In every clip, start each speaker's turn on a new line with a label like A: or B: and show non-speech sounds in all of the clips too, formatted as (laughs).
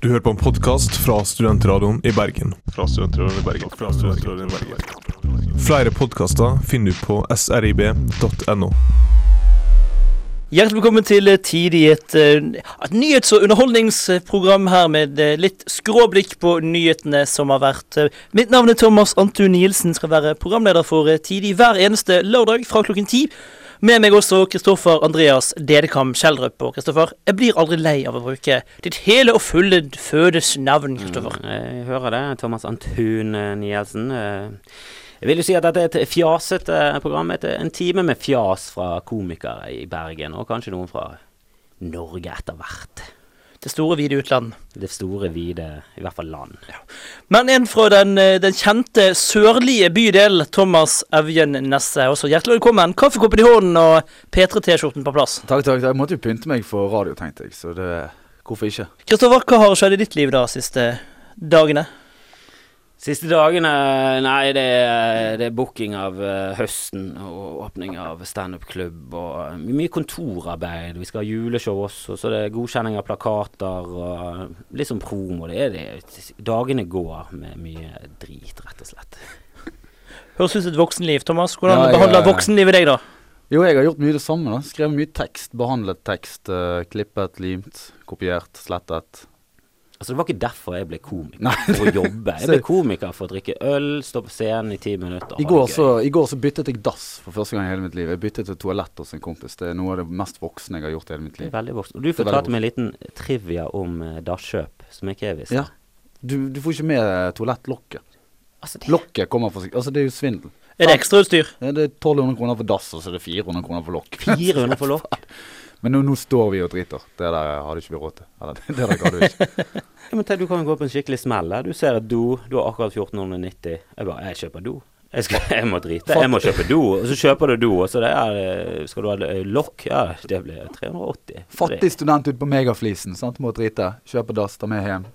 A: Du hører på en podkast fra Studentradioen i Bergen.
B: Fra Studentradioen i Bergen. Fra Studentradioen i Bergen.
A: Flere podkaster finner du på srib.no.
C: Hjertelig velkommen til eh, Tid i et, eh, et nyhets- og underholdningsprogram her med eh, litt skråblikk på nyhetene som har vært. Eh, Mitt navn er Thomas Antu Nielsen, skal være programleder for eh, Tid i hver eneste lørdag fra klokken ti. Med meg også Kristoffer Andreas Dedekam Kjeldrup. Og Kristoffer, jeg blir aldri lei av å bruke ditt hele og fulle fødes navn, Kristoffer.
D: Mm, Jeg hører det. Thomas Antun eh, Nielsen. eh. Jeg vil jo si at dette er et fjasete program. Et, en time med fjas fra komikere i Bergen, og kanskje noen fra Norge etter hvert.
C: Det store, vide utland.
D: Det store, vide, i hvert fall land.
C: Men en fra den, eh, den kjente sørlige bydel, Thomas Evjen Nesse. Også hjertelig velkommen. Kaffekoppen i hånden og P3T-skjorten på plass.
E: Takk, takk. Jeg måtte jo pynte meg for radio, tenkte jeg. Så det, hvorfor ikke?
C: Kristoffer, hva har skjedd i ditt liv da siste dagene?
D: Siste dagene eh, Nei, det er, det er booking av eh, høsten og åpning av standup-klubb og eh, mye kontorarbeid. Vi skal ha juleshow også, så det er godkjenning av plakater og litt sånn promo. Det er det. Dagene går med mye drit, rett og slett.
C: Høres ut som et voksenliv, Thomas. Hvordan
E: Ja, jeg-
C: behandler voksenlivet deg, da?
E: Jo, jeg har gjort mye det samme. da. Skrevet mye tekst, behandlet tekst. eh, klippet, limt, kopiert, slettet.
D: Altså, det var ikke derfor jeg ble komiker.
E: Nei.
D: For å jobbe. Jeg ble
E: (laughs)
D: komiker for å drikke øl, stå på scenen i ti minutter. og
E: I
D: ha
E: går,
D: det gøy.
E: så, I går så byttet jeg dass for første gang i hele mitt liv. Jeg byttet til toalett hos en kompis. Det er noe av det mest voksne jeg har gjort i hele mitt
D: Det er
E: liv.
D: Veldig voksen. Og du
E: er veldig
D: fortalte meg en liten trivia om uh, dasskjøp, som ikke jeg visste.
E: Ja. Du, du får ikke med eh, toalettlokket.
D: Altså, det,
E: Lokket kommer for seg. Altså, det er jo svindel.
C: Er det ekstrautstyr?
E: Ja, Det er 1200 kroner for dass, og så er det 400 kroner for lokk.
D: 400 for
E: (laughs)
D: lokk.
E: Men nå, nå står vi og driter. Det der har du ikke vi råd til. Eller, det der ga du ikke.
D: Ja, men tenk, du kan jo gå på en skikkelig smell. da. Du ser et do, du har akkurat 1490. Jeg bare Jeg kjøper do. Jeg, skal, (laughs) jeg må drite. Jeg må kjøpe do. Og så kjøper du do, og så det er, eh, skal du ha eh, lokk. Ja, det blir 380.
E: Fattig student ute på megaflisen. Sant? Må drite. Kjøper dass, ta med hjem.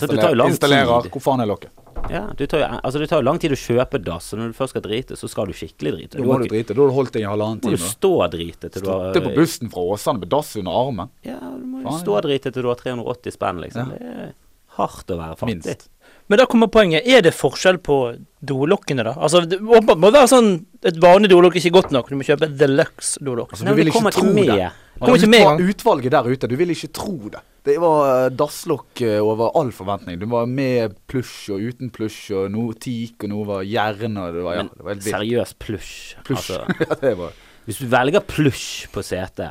D: Så det tar jo lang tid.
E: installerer. Hvor faen er lokket?
D: Ja, du tar jo, altså, det tar jo lang tid å kjøpe dass, og når du først skal drite, så skal du skikkelig drite.
E: Da må
D: kan
E: du
D: ikke-
E: drite. Da har du holdt deg i halvannen
D: må du eh,
E: time.
D: stå og drite til du har
E: Stått på bussen fra Åsane med dass under armen.
D: Ja, du må jo
E: Faen,
D: stå
E: ja.
D: og drite til du har 380 spenn, liksom. Det er hardt å være fattig.
E: Minst.
C: Men da kommer poenget. Er det forskjell på dolokkene, da? Altså, det åpenbart må det være sånn et vanlig dolokk er ikke godt nok. Du må kjøpe deluxe dolokk.
E: Altså,
D: Nei,
E: du
D: men
E: vil
D: det
E: ikke
D: kommer
E: tro
D: ikke med.
E: det.
C: Kommer ikke med.
E: Utvalg- Utvalget der ute, du vil ikke tro det. Det var eh, dasslokk eh, over all forventning. Du var med plush og uten plush, og noe teak, og noe var jern, og det var, ja,
D: Men
E: det var helt vilt.
D: seriøst plush.
E: Plush. (laughs)
D: Altså,
E: ja, det var
D: hvis du velger plush på setet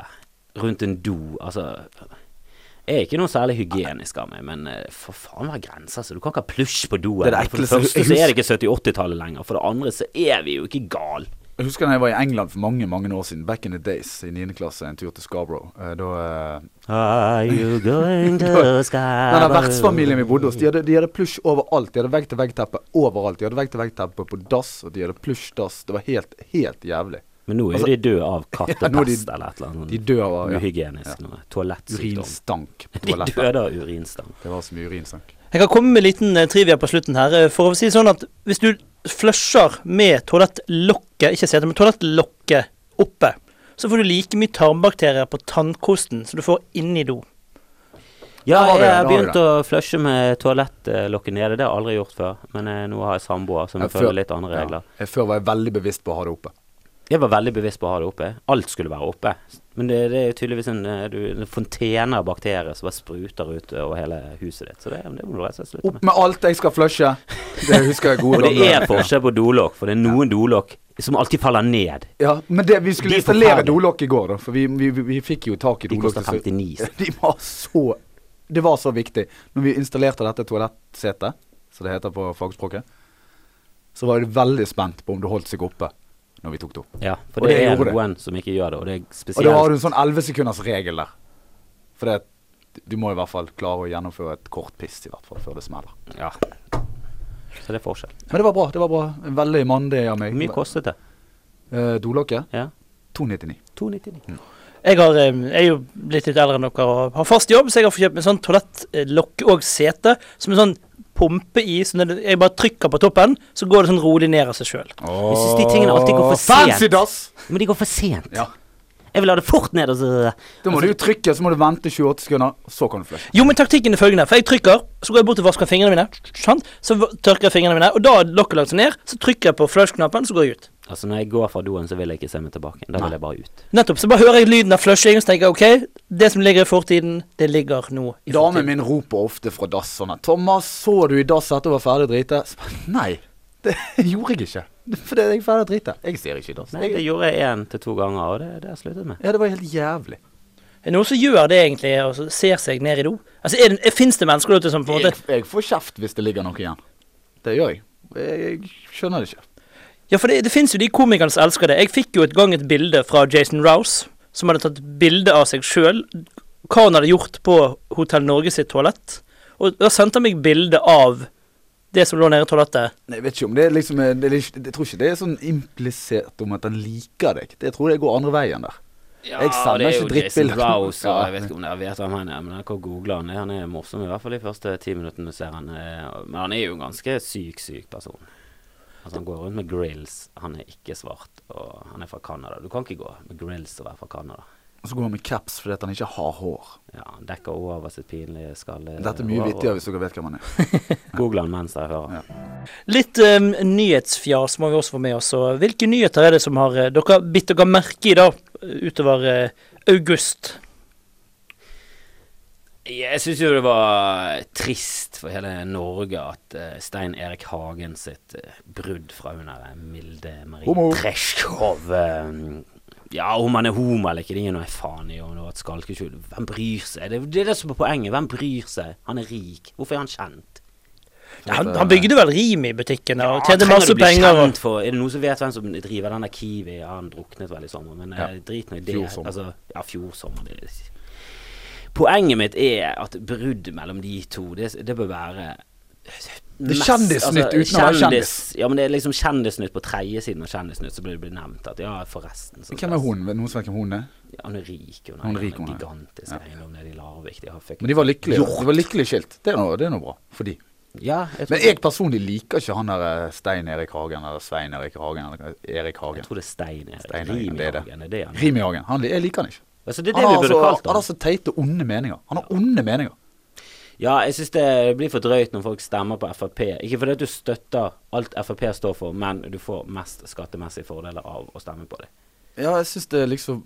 D: rundt en do, altså jeg er ikke noe særlig hygienisk av meg, men eh, for faen hva er grenser, så du kan ikke ha plush på doen.
E: Det er det
D: For det
E: ekleste-
D: første
E: jeg
D: så er
E: husker-
D: det ikke 70-80-tallet lenger, for det andre så er vi jo ikke gal.
E: Jeg husker da jeg var i England for mange mange år siden, back in the days, i 9. klasse, en tur til Scarborough. Eh, Da eh,
D: Are you going
E: (laughs)
D: to sky?
E: Nei, nei, Vertsfamilien vi bodde hos, de hadde, de hadde plush overalt. De hadde vegg-til-vegg-teppe overalt. De hadde vegg-til-vegg-teppe på dass, og de hadde plush-dass. Det var helt, helt jævlig.
D: Men nå er jo
E: Altså-
D: de døde av
E: (laughs) Ja, nå er de-
D: kattepest eller et eller annet.
E: de døde av- ja.
D: Uhygienisk noe. Toalettsykdom.
E: Urinstank
D: (laughs)
E: på
D: De
E: toalettet.
D: døde av urinstang.
E: Det var så mye urinstank.
C: Jeg kan komme med en liten eh, trivia på slutten her. eh, For å si det sånn at hvis du flusher med toalettlokket, ikke setet, men toalettlokket oppe, så får du like mye tarmbakterier på tannkosten som du får inni do.
D: Ja,
E: Da har vi det,
D: jeg har
E: da har vi
D: begynt å flushe med toalettlokket nede. Det har jeg aldri gjort før. Men eh, nå har jeg samboer som
E: Ja, før-
D: følger litt andre regler.
E: Ja. Jeg- Før var jeg veldig bevisst på å ha det oppe.
D: Jeg var veldig bevisst på å ha det oppe. Alt skulle være oppe. Men det, det er jo tydeligvis en, eh, du, en fontene av bakterier som bare spruter ut over hele huset ditt. Så det, det må du rett og slett slutte
E: Opp
D: med.
E: med alt jeg skal flushe! Det husker jeg
D: (laughs)
E: gode
D: Og det er
E: gamle-
D: forskjell på dolokk, for det er noen dolokk som alltid faller ned.
E: Ja, men det, vi
D: De
E: skulle
D: er
E: installere
D: forferdelige.
E: dolokk i går, da, for vi, vi, vi, vi fikk jo tak i
D: De
E: dolokk.
D: koster
E: til slutt.
D: 59.
E: (laughs) De var så Det var så viktig. Når vi installerte dette toalettsetet, som det heter på fagspråket, så var jeg veldig spent på om det holdt seg oppe når vi tok det opp.
D: Ja,
E: Og
D: for det,
E: det
D: er
E: gjorde det.
D: noen som ikke gjør det, og det er
E: Og da har
D: spesielt.
E: du en sånn 11 sekunders regel der. For det, du må i hvert fall klare å gjennomføre et kort piss i hvert fall før det smeller.
D: Ja. Så det er forskjell.
E: Men det var bra. det var bra. En Veldig mandig av meg.
D: Hvor mye kostet det?
E: Eh, dolokket
D: Ja,
E: 299.
D: 299.
C: Jeg, har, eh, jeg er jo blitt litt eldre enn dere og har fast jobb, så jeg har fått kjøpt meg sånn toalettlokk og sete som en sånn pumpe i. Så når det- jeg bare trykker på toppen, så går det sånn rolig ned av seg sjøl.
D: Jeg synes de tingene alltid går for
E: Fancy
D: sent.
E: dass!
D: Men de går for sent.
E: Ja.
D: Jeg vil ha det fort ned, og så Altså,
E: Da må du trykke, så må du vente 28 sekunder, så kan du flytte.
C: Jo, men taktikken er følgende. For jeg trykker, så går jeg bort og vasker fingrene mine. Sant? Så v- tørker jeg fingrene mine, og da er lokket lagt seg ned. Så trykker jeg på flush-knappen, så går jeg ut.
D: Altså, når jeg går fra doen, så vil jeg ikke se meg tilbake. Da vil jeg bare ut.
C: Nettopp. Så bare hører jeg lyden av flushing, og så tenker jeg ok, det som ligger i fortiden, det ligger nå i
E: Damen
C: fortiden.
E: min roper ofte fra dass sånn at 'Thomas, så du i dass etter å være ferdig å drite?' Så bare, Nei, det (laughs) gjorde jeg ikke. Fordi jeg er ferdig å drite. Jeg ser ikke i dass.
D: Nei, det
E: Jeg-
D: gjorde jeg én til to ganger, og det, det har jeg sluttet med.
E: Ja, det var helt jævlig.
C: Er det noen som gjør det, egentlig, og så ser seg ned i do? Altså, er det, Fins det mennesker der ute som på en
E: Jeg,
C: måte
E: jeg får kjeft hvis det ligger noe igjen. Det gjør jeg. Jeg, jeg skjønner det ikke.
C: Ja, for det, det fins jo de komikerne som elsker det. Jeg fikk jo et gang et bilde fra Jason Rouse, som hadde tatt bilde av seg sjøl, hva han hadde gjort på Hotell Norge sitt toalett. Og da sendte han meg bilde av det som lå nede i toalettet.
E: Nei, Jeg vet ikke om det er liksom eh, det er, ikke- Jeg tror ikke det er sånn implisert om at han liker deg. Det jeg tror jeg går andre veien der. Jeg sender
D: det er
E: ikke
D: jo
E: drittbilder.
D: Jason Rouse, og
E: Ja.
D: jeg vet ikke om dere vet hvem han er, men jeg kan google han. Han er morsom, i hvert fall de første ti minuttene du ser han. eh, Men han er jo en ganske syk, syk person. Altså, han går rundt med grills. Han er ikke svart, og han er fra Canada. Du kan ikke gå med grills og være fra Canada.
E: Og så går han med caps fordi at han ikke har hår.
D: Ja, han dekker over sitt pinlige skalle.
E: Dette er mye
D: og- og-
E: vittigere hvis dere vet hvem han er.
D: Google han mens dere hører.
E: Ja.
C: Litt um, nyhetsfjas må vi også få med oss. Og hvilke nyheter er det som har eh, dere bitt dere merke i da, utover eh, august?
D: Jeg syns jo det var trist for hele Norge at eh, Stein Erik Hagen sitt eh, brudd fra hun der eh, Milde Marie
E: Homo.
D: Treshkov eh, Ja, om han er homo eller ikke, det gir nå en faen i om det var et skalkeskjul. Hvem bryr seg? Det, det er det som er poenget. Hvem bryr seg? Han er rik. Hvorfor er han kjent? Sånn
C: Ja, han, han bygde vel rim i butikken og
D: Han
C: tjente
D: eh, trenger
C: masse
D: å bli
C: penger.
D: kjent For, er det noen som vet hvem som driver den der Kiwi? Ja, han druknet vel i sommer, men eh, drit nå i det.
E: Fjorsommer.
D: Altså, ja, fjorsommer. det er- Poenget mitt er at brudd mellom de to, det, det bør være altså,
E: Det er kjendisnytt uten å være kjendis.
D: Ja, men det er liksom kjendisnytt på tredje siden av Kjendisnytt, så blir det blir nevnt at ja, forresten så
E: Hvem er hun? Vet noen som vet hvem hun er?
D: Ja, hun er rik. Hun
E: Hun
D: har
E: er rik,
D: en
E: hun er.
D: gigantisk eiendom nede i Larvik. De har fucking-
E: Men de var lykkelige. De var lykkelig skilt. Det er noe, det er noe bra for de.
D: Ja, jeg tror,
E: Men jeg personlig liker ikke han der eh, Stein Erik Hagen eller Svein Erik Hagen eller
D: jeg
E: Erik Hagen.
D: tror det er Stein Erik.
E: Stein Erik,
D: Rim i
E: det er det.
D: Hagen, er det han er.
E: Rimi Hagen. Han, jeg liker han ikke.
D: Altså, det er det
E: Han
D: vi
E: har,
D: burde
E: så,
D: kalt
E: han har så teite, onde meninger. Han har onde meninger.
D: Ja, jeg syns det blir for drøyt når folk stemmer på Frp. Ikke fordi at du støtter alt Frp står for, men du får mest skattemessige fordeler av å stemme på dem.
E: Ja, jeg syns det er liksom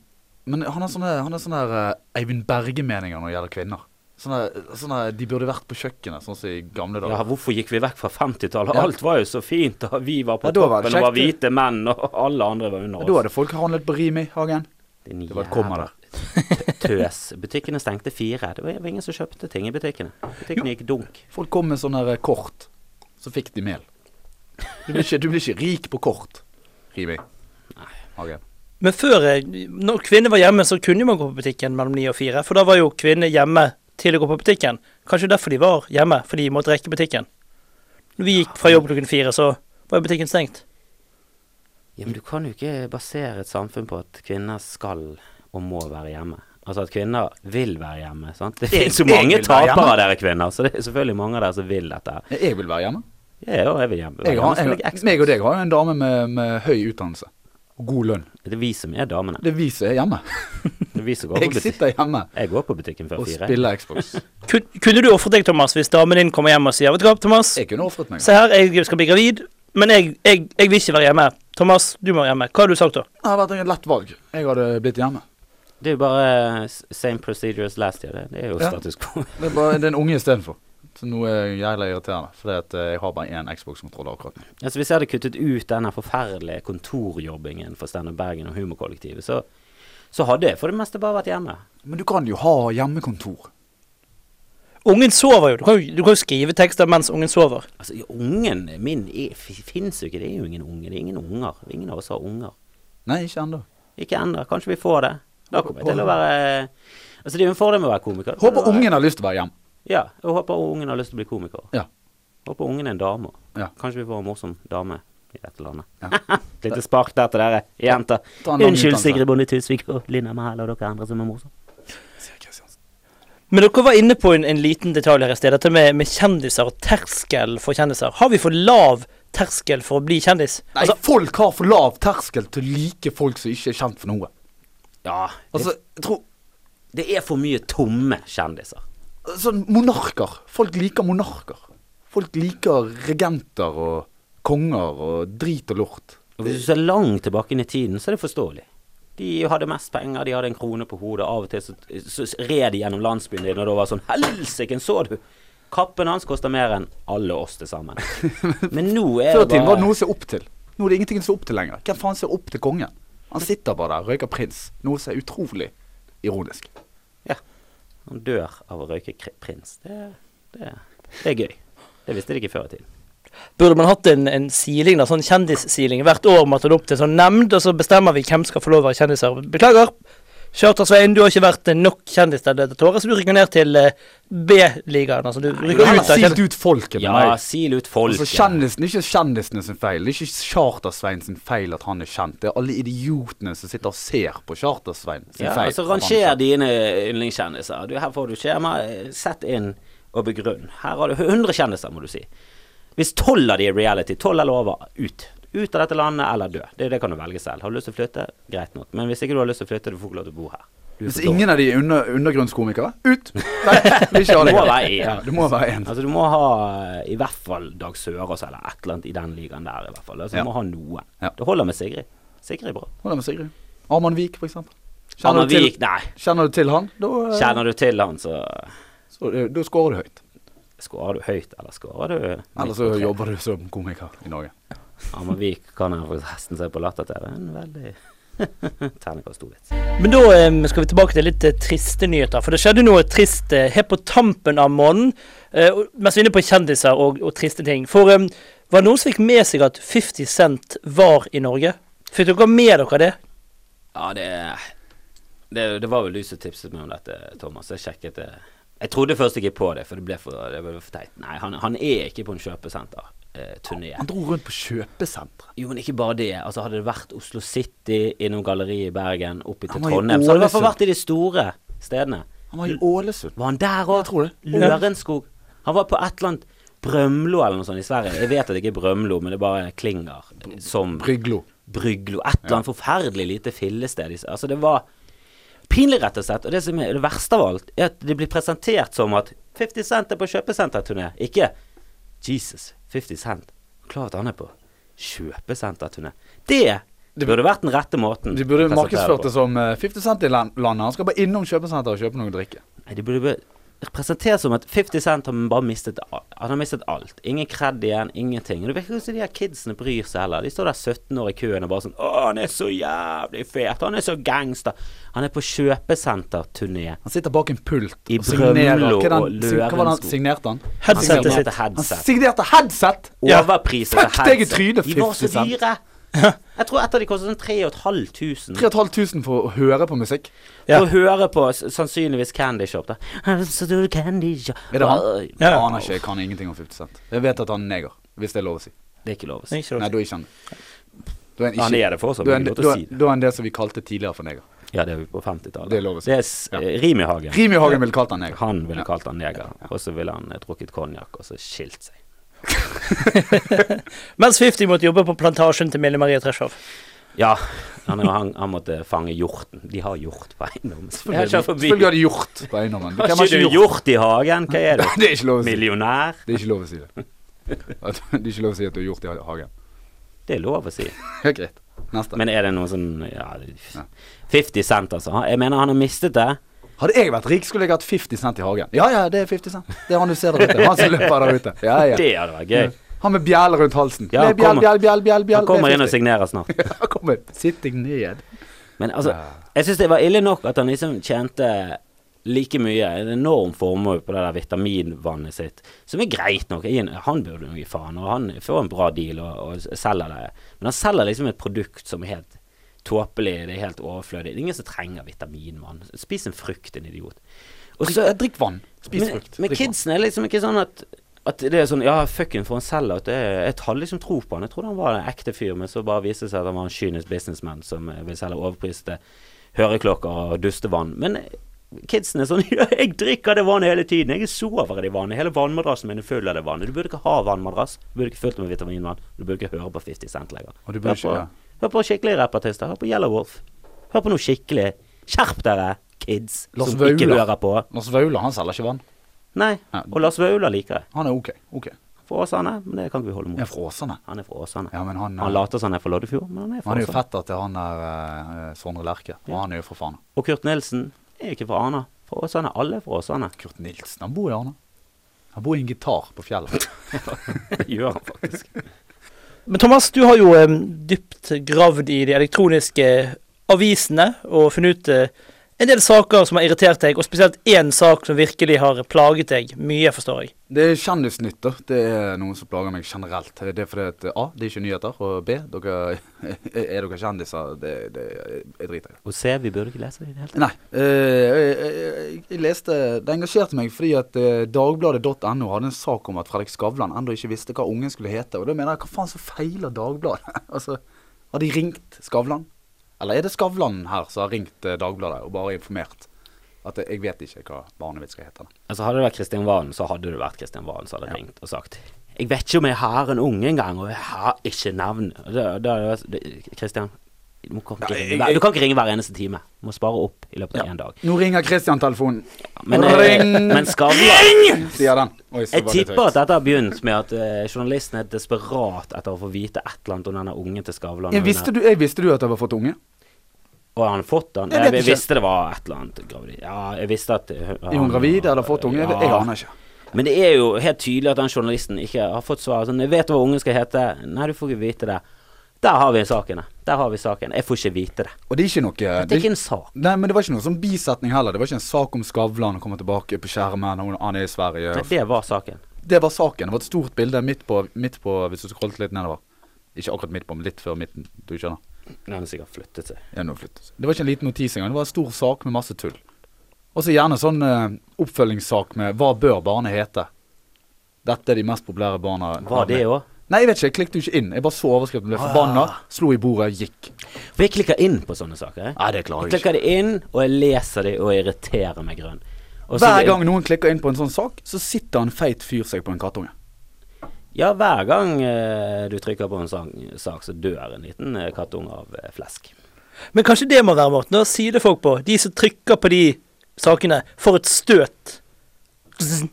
E: Men han har sånne, han har sånne der, eh, Eivind Berge-meninger når det gjelder kvinner. Sånne, sånne De burde vært på kjøkkenet, sånn som i gamle
D: Ja,
E: dager.
D: hvorfor gikk vi vekk fra 50-tallet?
E: Ja.
D: Alt var jo så fint, og vi var på
E: Ja, da var det
D: toppen og var
E: kjekt,
D: hvite menn, og alle andre var
E: Ja,
D: under
E: da
D: oss.
E: hadde folk handlet på Rimi Hagen.
D: Din
E: Det var et komma der.
D: jævla Tøs. Butikkene stengte fire. Det var ingen som kjøpte ting i butikkene. Butikkene gikk dunk.
E: Folk kom med sånne der eh, kort, så fikk de mel. Du blir ikke, du blir ikke rik på kort, Rimi Hagen.
C: Men før, eh, når kvinner var hjemme, så kunne man gå på butikken mellom ni og fire. For da var jo kvinner hjemme til å gå på butikken. Kanskje derfor de var hjemme, for de måtte rekke butikken. Når vi gikk fra jobb klokken fire, så var jo butikken stengt.
D: Ja, men du kan jo ikke basere et samfunn på at kvinner skal og må være hjemme. Altså at kvinner vil være hjemme. sant? Det
E: Jeg-
D: finnes jo
E: jeg
D: mange
E: vil være
D: tapere
E: hjemme.
D: av dere kvinner, så det er selvfølgelig mange av dere som vil dette. her.
E: Ja, Jeg vil være hjemme.
D: Ja, ja, jeg vil hjem.
E: Jeg har,
D: Gjerne
E: jeg,
D: spille Xbox.
E: meg og deg har jo en dame med, med høy utdannelse. Og god lønn.
D: Det er vi som er damene.
E: Det er vi som er hjemme.
D: Det er vi som går på
E: Jeg
D: butikken.
E: sitter hjemme
D: Jeg går på butikken før
E: og
D: fire.
E: spiller Xbox.
C: Kun- Kunne du ofret deg, Thomas, hvis damen din kommer hjem og sier Vet du hva, Thomas,
E: Jeg kunne ofret
C: (laughs)
E: meg.
C: se her, jeg skal bli gravid, men jeg, jeg, jeg vil ikke være hjemme. Thomas, du må være hjemme. Hva hadde du sagt da?
E: Det har vært et lett valg. Jeg hadde blitt hjemme.
D: Det er jo bare eh, s- same procedure as last year. Det, det er jo
E: Ja.
D: status quo. (laughs)
E: Det er bare det er en unge istedenfor. Så nå er jeg jævla irriterende, fordi at eh, jeg har bare én Xbox-kontroller akkurat nå.
D: altså, hvis jeg hadde kuttet ut denne forferdelige kontorjobbingen for Standup Bergen og Humorkollektivet, så, så hadde jeg for det meste bare vært hjemme.
E: Men du kan jo ha hjemmekontor.
C: Ungen sover jo. Du kan jo, du kan jo skrive tekster mens ungen sover.
D: Altså, ja, ungen min er- f- finnes jo ikke. Det er jo ingen unge. Det er ingen unger. Ingen av oss har unger.
E: Nei, ikke ennå.
D: Ikke ennå. Kanskje vi får det. Da kommer jeg til å være Altså, det er jo en fordel med å være komiker.
E: Håper ungen har lyst til å være hjemme.
D: Ja. Jeg håper ungen har lyst til å bli komiker.
E: Ja.
D: Håper ungen er en dame.
E: Ja.
D: Kanskje vi får en morsom dame i dette landet. (laughs)
E: Ja.
D: Lite spark der til dere, jenter.
E: Ta en lang
D: Unnskyld,
E: utdannelse.
D: Sigrid Bonde Tusvik og Linda Mahal og dere andre som er morsomme.
C: Men dere var inne på en, en liten detalj her i sted, dette med, med kjendiser og terskel for kjendiser. Har vi for lav terskel for å bli kjendis? Altså,
E: Nei, folk har for lav terskel til å like folk som ikke er kjent for noe.
D: Ja.
E: Altså, jeg tror
D: det, det er for mye tomme kjendiser.
E: Sånn monarker. Folk liker monarker. Folk liker regenter og konger og drit og lort.
D: Og hvis du ser langt tilbake inn i tiden, så er det forståelig. De hadde mest penger, de hadde en krone på hodet. Av og til så, så red de gjennom landsbyen din, og da var det sånn Helsiken, så du! Kappen hans koster mer enn alle oss til sammen. Men nå er
E: Før i
D: det
E: tiden var det
D: bare
E: noe å se opp til. Nå er det ingenting å se opp til lenger. Hvem faen ser opp til kongen? Han sitter bare der, røyker prins. Noe som er utrolig ironisk.
D: ja, Han dør av å røyke kri- prins. Det, det, det er gøy. Det visste de ikke før i tiden.
C: Burde man hatt en, en siling, da, sånn kjendissiling hvert år man tar det opp til en sånn nemnd, og så bestemmer vi hvem skal få lov å være kjendiser. Beklager, Charter-Svein, du har ikke vært eh, nok kjendis til dette året, så du rykker ned til eh, B-ligaen. Altså, du rykker
E: Heller
C: ut av
E: silt
C: kjendis...
E: ut folket med
D: Ja,
E: meg.
D: sil ut
E: Altså,
D: folket.
E: kjendisen, det er ikke kjendisene sin feil. Det er ikke Charter-Svein sin feil at han er kjent. Det er alle idiotene som sitter og ser på Charter-Svein sin
D: Ja,
E: feil.
D: altså
E: at han er
D: Ranger
E: kjent.
D: dine yndlingskjendiser. Du, her får du skjema. eh, Sett inn og begrunn. Her har du 100 kjendiser, må du si. Hvis 12 av de er reality, 12 er over, ut. Ut av dette landet eller dø. Det, det kan du velge selv. Har du lyst til å flytte, greit nok. Men hvis ikke du har lyst til å flytte, du får ikke lov til å bo her. Du er
E: Hvis
D: for dårlig.
E: ingen av de er under, undergrunnskomikere, ut! Nei, vi ikke ha
D: Det
E: det.
D: må være en.
E: Ja, det må være en.
D: Altså du må ha eh, i hvert fall Dag Sørås eller et eller annet i den ligaen der, i hvert fall. Altså,
E: Ja.
D: Du må ha noen.
E: Ja.
D: Det holder med Sigrid. Sigrid Ah, er bra.
E: Hvordan med Sigrid? Arman Vik, for eksempel.
D: Anna
E: du til-
D: Vik, nei.
E: Kjenner du til han? Da, eh,
D: Kjenner du til han, så
E: så, eh, da scorer du høyt.
D: skårer du høyt, eller skårer du
E: Eller så jobber du som komiker i Norge.
D: Ammervik kan jeg forresten se på Latter-TV. En veldig
E: (laughs)
D: terningkast to-vits.
C: Men da eh, skal vi tilbake til litt eh, triste nyheter. For det skjedde noe trist eh, helt på tampen av måneden. eh, og- mens vi er inne på kjendiser og, og triste ting. For eh, var det noen som fikk med seg at 50 Cent var i Norge? Fikk dere med dere det?
D: Ja, det, det Det var vel du som tipset meg om dette, Thomas. Jeg sjekket det. Jeg trodde først ikke på det, for det ble for, det ble for teit. Nei, han, han er ikke på en kjøpesenter-turné.
E: Han dro rundt på kjøpesentre.
D: jo, men ikke bare det. Altså, hadde det vært Oslo City, innom galleriet i Bergen, opp til
E: Han var i
D: Trondheim, så hadde det i hvert fall
E: Ålesund.
D: vært i de store stedene.
E: Han var i
D: Mm.
E: Ålesund.
D: Var han der
E: Jeg
D: òg?
E: tror det.
D: Lørenskog. Han var på et eller annet Brømlo eller noe sånt i Sverige. Jeg vet at det ikke er Brømlo, men det bare klinger som
E: Bryglo.
D: Bryglo. Et eller annet forferdelig lite fillested. i s- Altså, det var pinlig, rett og slett. Og det som er det verste av alt, er at det blir presentert som at 50 Cent er på kjøpesenterturné. Ikke Jesus, 50 Cent. Klart han er på kjøpesenterturné. Det burde vært den rette måten.
E: De
D: å
E: burde
D: presentere
E: markedsført
D: på.
E: det som eh, 50 Cent i lan- landet. Han skal bare innom kjøpesenteret og kjøpe noe å drikke.
D: Nei, de burde bare presentere som at 50 Cent har bare mistet alt. Han har mistet alt. Ingen cred igjen, ingenting. Og det virker ikke som de her kidsene bryr seg heller. De står der 17 år i køen og bare sånn Å, han er så jævlig fet. Han er så gangster. Han er på kjøpesenterturné.
E: Han sitter bak en pult
D: I
E: og signerer.
D: Brømlo
E: Hva er den-
D: og
E: sig- hva var det han
D: Lørenskog.
E: signerte han?
C: Headsetet
D: Han
C: sitt.
D: signerte
E: Han
D: headset.
E: signerte headset!
C: Ja.
D: Overpriset
E: Fuck deg i trynet,
D: De var så
E: 50 Cent.
D: dyre. Jeg tror et av de kostet sånn 3500.
E: 3500 for å høre på musikk.
C: Ja.
D: For å høre på s- sannsynligvis Candy Shop, da. (laughs) Så du Candy Shop
E: Er det han?
D: Oi.
E: Jeg
C: Ja.
E: aner ikke, jeg kan ingenting om 50 Cent. Jeg vet at han er neger, hvis det er lov å si.
D: Det er ikke lov å
C: Nei,
D: si.
C: ikke
E: Nei,
C: det.
E: da er ikke han det. Da er han ikke
D: Han er det fortsatt,
E: da er
D: men
E: han-
D: det er lov til
E: da
D: å
E: er-
D: si det.
E: Da er han det som vi kalte tidligere for neger.
D: Ja, det er jo på 50-tallet.
E: Det er lov å si.
D: Det er s- eh, Rimihagen.
E: Rimihagen ville kalt han neger.
D: Han ville kalt han neger, og så ville han eh, drukket konjakk og så skilt seg.
C: Mens 50 måtte jobbe på plantasjen til Mille Marie Treschow.
D: Ja, han, han, han måtte fange hjorten. De har hjort på eiendommen. Jeg kjører forbi.
E: Selvfølgelig har de gjort på eiendommen.
D: Har (laughs)
E: Hvem har
D: ikke du hjort i hagen? Hva er du?
E: (laughs) Det er ikke lov å si.
D: Millionær?
E: Det er ikke lov å si det. At, det er ikke lov å si at du har gjort det i hagen. (laughs)
D: Det er lov å si.
E: Ja, greit. Neste.
D: Men er det noe sånn ja, 50 cent, altså. Han- Jeg mener han har mistet det.
E: Hadde jeg vært rik, skulle jeg hatt 50 cent i hagen. Ja, ja, det er 50 cent. Det er han du ser der ute. Han som løper der ute. Ja, ja.
D: Det hadde vært gøy.
E: Han med bjelle rundt halsen.
D: Ja,
E: Ja,
D: han
E: bjell,
D: kommer.
E: bjell, bjell, bjell, bjell.
D: Han kommer inn og
E: (laughs)
D: signerer snart.
E: Han kommer. Sitting ned.
D: Men altså, jeg syns det var ille nok at han liksom tjente like mye, en enorm formue på det der vitaminvannet sitt, som er greit nok. Jeg- Han burde jo gi faen, og han får en bra deal og, og selger det. Men han selger liksom et produkt som er helt tåpelig, det er helt overflødig. Det er ingen som trenger vitaminvann. Spis en frukt, din idiot. Og så
E: Drikk vann. Spis
D: men,
E: frukt.
D: Men
E: Drikk vann.
D: kidsen er liksom ikke sånn at at det er sånn Ja, fucken, for en sellout. Jeg, jeg hadde liksom tro på han. Jeg trodde han var en ekte fyr, men så bare viste det seg at han var en kynisk businessman som eh, vil selge overpriste høreklokker og dustevann. Men eh, kidsen er sånn (laughs) Ja, jeg drikker det vannet hele tiden. Jeg sover i det vannet. Hele vannmadrassen min er full av det vannet. Du burde ikke ha vannmadrass. Du burde ikke fullt med vitaminvann. Du burde ikke høre på 50 Cent lenger.
E: Og du
D: hør,
E: burde
D: på,
E: ikke- ja.
D: hør på skikkelige rappartister. Hør på Yellow Wolf. Hør på noe skikkelig Skjerp dere, kids
E: Lars
D: som ikke
E: Vaular.
D: hører på.
E: Lars Vaular, han selger ikke vann.
D: Nei.
E: Ja.
D: Og Lars Vaular liker jeg.
E: Han er ok. ok
D: Fra Åsane, men det kan ikke vi holde
E: Ja,
D: mot.
E: fra Åsane.
D: Han er fra Åsane.
E: Ja, men han, eh,
D: Han later som han er fra Loddefjord, men han er fra
E: han er jo
D: Åsane.
E: fetter til han der eh, Sondre Lerche. Og
D: Ja.
E: han er jo fra faen.
D: Og Kurt Nilsen er jo ikke fra Arna. Fra Åsane. Alle er fra (laughs) Åsane.
E: Kurt Nilsen, han bor i Arne. Han bor i en gitar på fjellet.
D: Gjør han faktisk.
C: Men Thomas, du har jo eh, dypt gravd i de elektroniske eh, avisene og funnet ut eh, en del saker som har irritert deg, og spesielt én sak som virkelig har plaget deg mye, forstår jeg.
E: (laughs) Det er kjendisnytt, da. Det er noe som plager meg generelt. Det er fordi at A, det er ikke nyheter, og B, dere, (laughs) er dere kjendiser? Det, det jeg driter i. det.
D: Og se, vi burde ikke lese det i det hele tatt.
E: Nei. eh, jeg, jeg, jeg leste Det engasjerte meg fordi at eh, dagbladet.no hadde en sak om at Fredrik Skavlan ennå ikke visste hva ungen skulle hete. Og da mener jeg, hva faen så feiler Dagbladet? (laughs) altså, har de ringt Skavlan? Eller er det Skavlan her som har ringt eh, Dagbladet og bare informert? At eh, jeg vet ikke hva barnet mitt skal hete.
D: Altså Hadde det vært Kristian Valen, så hadde det vært Kristian Valen som hadde ringt og sagt Jeg vet ikke om jeg har en unge engang, og jeg har ikke navn. Og Da, da, hadde det vært- det- Kristian, du, må- kan ikke
E: Ja, jeg-
D: ringe, hver- du kan ikke ringe hver eneste time. Du må spare opp i løpet av
E: Ja.
D: én dag.
E: Nå ringer Christian-telefonen,
D: Men, eh,
E: Ring!
D: men Skavlan
E: sier den. Oi, så
D: Jeg
E: var det
D: tipper at
E: høyt.
D: dette har begynt med at eh, journalisten er desperat etter å få vite et eller annet om denne ungen til Skavlan.
E: jeg visste, du, jeg visste du at jeg var fått unge?
D: Og har han fått den?
E: Jeg
D: Jeg,
E: vet
D: jeg
E: ikke.
D: visste det var et eller annet gravid. Ja, jeg visste at eh,
E: Er hun
D: han-
E: gravid eller fått unge? Jeg, vet- jeg
D: Ja.
E: aner ikke.
D: Men det er jo helt tydelig at den journalisten ikke har fått svar. Sånn, 'Jeg vet hva ungen skal hete.' Nei, du får ikke vite det. Der har vi saken. ja. Der har vi saken. Jeg får ikke vite det.
E: Og det er ikke noe
D: Det er ikke en sak.
E: Nei, men det var ikke noe sånn bisetning heller. Det var ikke en sak om Skavlan kommer tilbake på skjermen, og han er i Sverige.
D: Nei, det var saken.
E: Det var saken. Det var et stort bilde midt på, midt på hvis du scrollet litt nedover. Ikke akkurat midt på, men litt før midten. Du skjønner.
D: Den har sikkert flyttet seg.
E: Ja, nå flyttes. Det var ikke en liten notis engang. Det var en stor sak med masse tull. Og så gjerne sånn eh, oppfølgingssak med 'Hva bør barnet hete?' Dette er de mest populære barna.
D: Var det òg?
E: Nei, jeg vet ikke. Jeg klikket jo ikke inn. Jeg bare så overskriften, ble forbanna, slo i bordet, gikk.
D: For jeg klikker inn på sånne saker. jeg.
E: Nei, det klarer
D: Jeg
E: jeg ikke.
D: klikker det inn, og jeg leser det, og jeg irriterer meg grønn. Og så-
E: Hver gang noen klikker inn på en sånn sak, så sitter en feit fyr seg på en kattunge.
D: Ja, hver gang eh, du trykker på en sang, sak, så dør en liten eh, kattunge av eh, flesk.
C: Men kanskje det må være måten å si det folk på. De som trykker på de sakene, får et støt.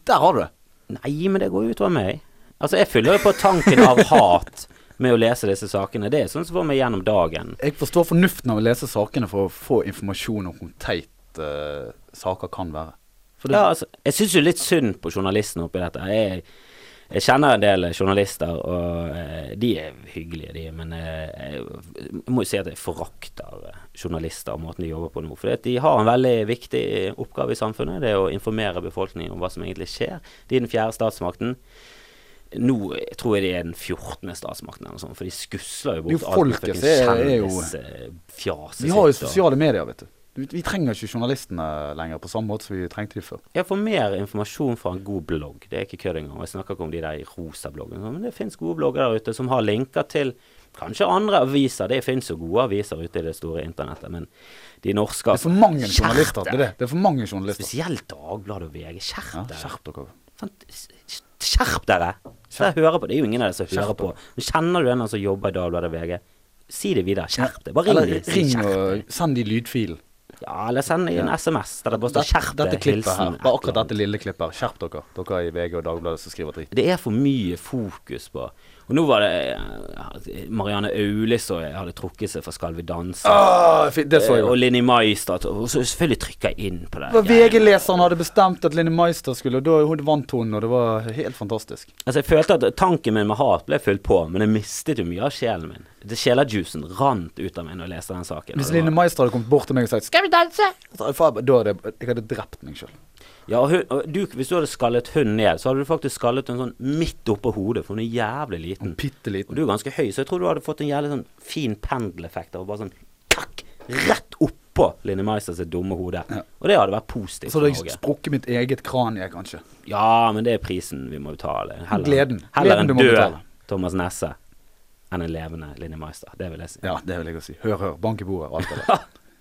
E: Der har du det.
D: Nei, men det går jo utover meg. Altså, jeg fyller jo på tanken av
E: (laughs)
D: hat med å lese disse sakene. Det er sånn som får meg gjennom dagen.
E: Jeg forstår fornuften av å lese sakene for å få informasjon om hvor teit eh, saker kan være. For det,
D: Ja, altså, jeg syns jo litt synd på journalistene oppi dette. Jeg, jeg kjenner en del journalister, og eh, de er hyggelige, de. Men eh, jeg må jo si at jeg forakter eh, journalister og måten de jobber på nå. For de har en veldig viktig oppgave i samfunnet. Det er å informere befolkningen om hva som egentlig skjer. De er den fjerde statsmakten. Nå eh, tror jeg de er den 14. statsmakten, eller noe sånt, for de skusler jo
E: Jo,
D: bort alt med fucking
E: folket, det er jo-
D: kjendisfjaset
E: vi har jo
D: sitt og-
E: sosiale medier, vet du. Vi, vi trenger ikke journalistene lenger på samme måte som vi trengte de før.
D: Jeg får mer informasjon fra en god blogg. Det er ikke kødd engang. Jeg snakker ikke om de der i rosa bloggene. Men det fins gode blogger der ute som har linker til kanskje andre aviser. Det fins jo gode aviser ute i det store internettet, men de norske
E: Det er for mange
D: Skjerp
E: journalister.
D: deg!
E: Det er, det. Det er for mange journalister.
D: Spesielt Dagbladet og VG. Skjerp
E: Ja,
D: dere!
E: skjerp dere.
D: Fant- s- Skjerp dere! Så jeg hører på. Det er jo ingen av dere som hører
E: Skjerp
D: på. Men kjenner du en av dem som jobber i Dagbladet og VG? Si det videre. Skjerp deg. Bare ring.
E: Eller
D: dem. Si
E: ring
D: skjerp deg.
E: og send de lydfilen.
D: Ja, eller send en SMS der det bare står
E: Dette-
D: 'skjerp
E: dette
D: deg',
E: klippet her.
D: hilsen.
E: Bare akkurat dette lille klippet her. Skjerp dere, dere i VG og Dagbladet som skriver dritt.
D: Det er for mye fokus på Og nå var det eh, Marianne Aulis og jeg hadde trukket seg fra Skal vi danse.
E: Ah, det
D: Eh, og Linni Maistad. Og så selvfølgelig trykka jeg inn på det. Jeg,
E: VG-leseren hadde bestemt at Linni Meister skulle, og da hun vant hun, og det var helt fantastisk.
D: altså, jeg følte at tanken min med hat ble fylt på, men jeg mistet jo mye av sjelen min. Det Sjelajuicen rant ut av meg når jeg leste den saken.
E: Hvis
D: og det
E: Linni
D: var-
E: Meister hadde kommet bort til meg og sagt 'Skal vi danse?' Da hadde jeg- jeg hadde drept meg sjøl.
D: ja, og hun, og du, hvis du hadde skallet hunden ned, så hadde du faktisk skallet den sånn midt oppå hodet, for hun er jævlig liten. Mm.
E: Bitte
D: Og
E: liten.
D: du er ganske høy, så jeg tror du hadde fått en jævlig sånn fin pendeleffekt av bare sånn kakk, rett oppå Linni Meister sitt dumme hode. Og det hadde vært positivt
E: Så
D: for
E: hadde jeg
D: Norge.
E: sprukket mitt eget kranie, kanskje.
D: Ja, men det er prisen vi må betale. Heller,
E: Gleden.
D: Heller
E: Gleden du
D: en
E: må
D: død
E: betale.
D: Thomas Nesse enn en levende Linni Meister. Det vil jeg si.
E: Ja, det vil jeg jo si. Hør, hør. Bank i bordet. og Alt
D: (laughs)
E: det der.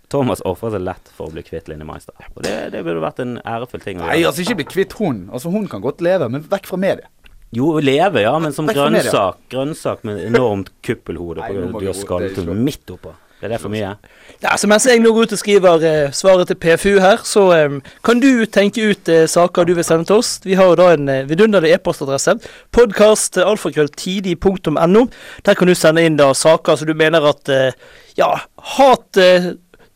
D: Thomas ofrer seg lett for å bli kvitt Linni Meister. Og det, det burde vært en ærefull ting å
E: Nei,
D: gjøre.
E: altså, ikke bli kvitt hun. Altså, hun kan godt leve, men vekk fra media.
D: Jo, leve, ja, men som
E: Vekk fra media.
D: grønnsak. Grønnsak med enormt kuppelhode
E: Nei,
D: på
E: nå
D: grunn av
E: må
D: at du har
E: vi gå- det er
D: skallet
E: ikke
D: henne midt oppå. Ble det for mye?
C: Ja, så Mens jeg nå går ut og skriver eh, svaret til PFU her, så eh, kan du tenke ut eh, saker du vil sende til oss. Vi har jo da en eh, vidunderlig e-postadresse. Podkastalfakrølltidig.no. Der kan du sende inn da saker som du mener at eh, Ja, hat eh,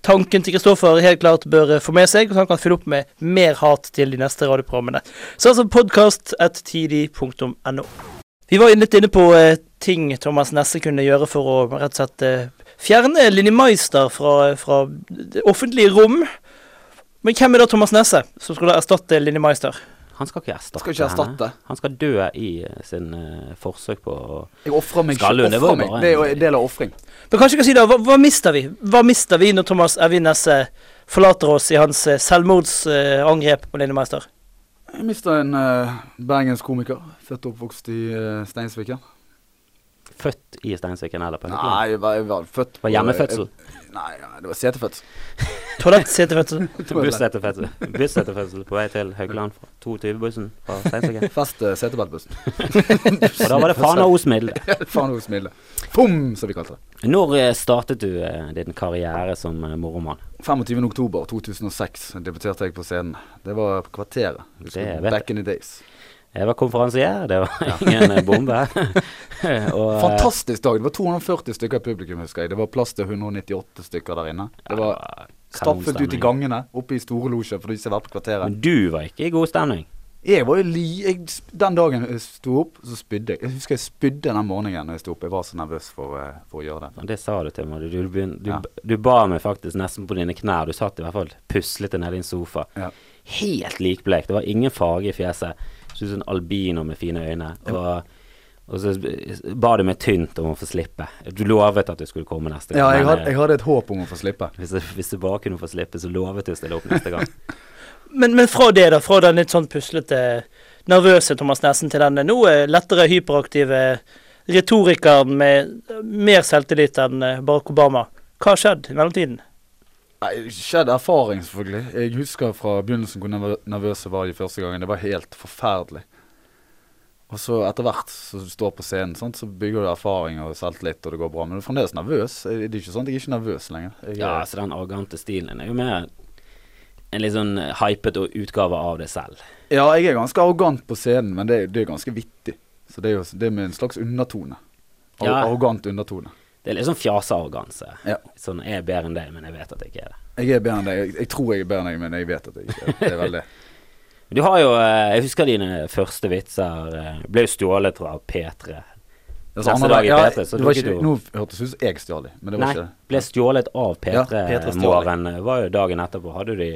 C: Tanken til Kristoffer helt klart bør eh, få med seg, så han kan fylle opp med mer hat til de neste radioprogrammene. Så altså podkast.tidig.no. Vi var litt inne på eh, ting Thomas Nesse kunne gjøre for å rett og slett eh, Fjerne Linni Meister fra, fra det offentlige rom. Men hvem er da Thomas Nesse som skulle erstatte Linni Meister?
D: Han skal ikke erstatte,
E: Skal ikke erstatte.
D: henne. Han skal dø i eh, sin eh, forsøk på å
E: Jeg ofrer meg
D: Skalløn, det
E: ikke.
D: var jo
E: Ofrer meg.
D: bare
E: Det er jo
D: en-
E: en del av ofring.
C: Men kanskje vi kan si da, hva, hva mister vi? Hva mister vi når Thomas Evin Nesse forlater oss i hans eh, selvmordsangrep på Linni Meister?
E: Jeg mista en uh, bergensk komiker. Født og oppvokst i eh, Steinsviken.
D: Født i Steinsviken eller på en
E: Nei, jeg var, jeg var født eh,
D: Var
E: (laughs)
D: hjemmefødsel.
E: Nei, ja, det var setefødsel.
C: Toalettsetefødsel?
D: Bussetefødsel. Bussetefødsel på vei til Haugland fra 22-bussen fra
E: (laughs)
D: Steinsviken.
E: Fest uh, setebeltbussen.
D: Og da var det faen (laughs) og osmiddel.
E: Faen hos Mille. Pum, som vi kalte det.
D: Når eh, startet du eh, din karriere som eh, moroman?
E: 25. oktober 2006 debuterte jeg på scenen. Det var på Kvarteret. Husker
D: Det
E: du?
D: vet
E: Back in the days.
D: Jeg var konferansier, det var ingen eh, bombe. (laughs) og, eh,
E: Fantastisk dag. Det var 240 stykker i publikum, husker jeg. Det var plass til 198 stykker der inne. Det var stappet ut i
D: kanonstemning.
E: gangene, oppe i store losjen for de som har vært på Kvarteret.
D: Men du var ikke i god stemning.
E: Jeg var jo li... Jeg, sp- den dagen jeg sto opp, så spydde jeg. Jeg husker jeg spydde den morgenen når jeg sto opp. Jeg var så nervøs for, eh, for å gjøre det.
D: Og Det sa du til meg. Du, du, begyn- du,
E: Ja.
D: du ba meg faktisk nesten på dine knær. Du satt i hvert fall puslete nede i en sofa.
E: Ja.
D: Helt likblek. Det var ingen farge i fjeset. Så ut som en albino med fine øyne. Og, og så ba du meg tynt om å få slippe. Du lovet at du skulle komme neste gang.
E: Ja, jeg
D: men,
E: hadde,
D: eh,
E: jeg hadde et håp om å få slippe.
D: Hvis, jeg, hvis du bare kunne få slippe, så lovet du å stille opp neste
E: (laughs)
D: gang.
C: Men, men fra det, da. Fra den litt sånn puslete, nervøse Thomas Nessen til den nå eh, lettere hyperaktive retorikeren med mer selvtillit enn eh, Barack Obama. Hva har skjedd i mellomtiden?
E: Nei, skjedd erfaring, selvfølgelig. Jeg husker fra begynnelsen hvor nervø- nervøs jeg var de første gangen. Det var helt forferdelig. Og så etter hvert som du står på scenen, sant, så bygger du erfaring og selvtillit, og det går bra. Men du er fremdeles nervøs. Det er ikke sånn at jeg er ikke nervøs lenger. Jeg,
D: Ja, så den arrogante stilen din er jo mer en litt sånn hypet utgave av deg selv.
E: ja, jeg er ganske arrogant på scenen, men det, er- det er ganske vittig. Så det er jo det er med en slags undertone. Ar
D: Ja.
E: Arrogant undertone.
D: Det er litt sånn fjasearroganse.
E: Ja.
D: Sånn jeg er bedre enn deg, men jeg vet at jeg ikke er det.
E: Jeg er bedre enn deg. Jeg, jeg tror jeg er bedre enn deg, men jeg vet at jeg ikke er det. det. Er vel det.
D: Du har jo eh, Jeg husker dine første vitser. eh, Ble jo stjålet fra P3.
E: Altså,
D: (laughs) Neste
E: andre-
D: dag i
E: ja,
D: P3, så
E: det var
D: tok
E: ikke,
D: du-
E: Nå hørtes det ut som jeg stjal dem, men det var
D: Nei,
E: ikke det.
D: ble stjålet av
E: Ja, P3 stjal
D: P3-morgen. var jo dagen etterpå. Hadde du de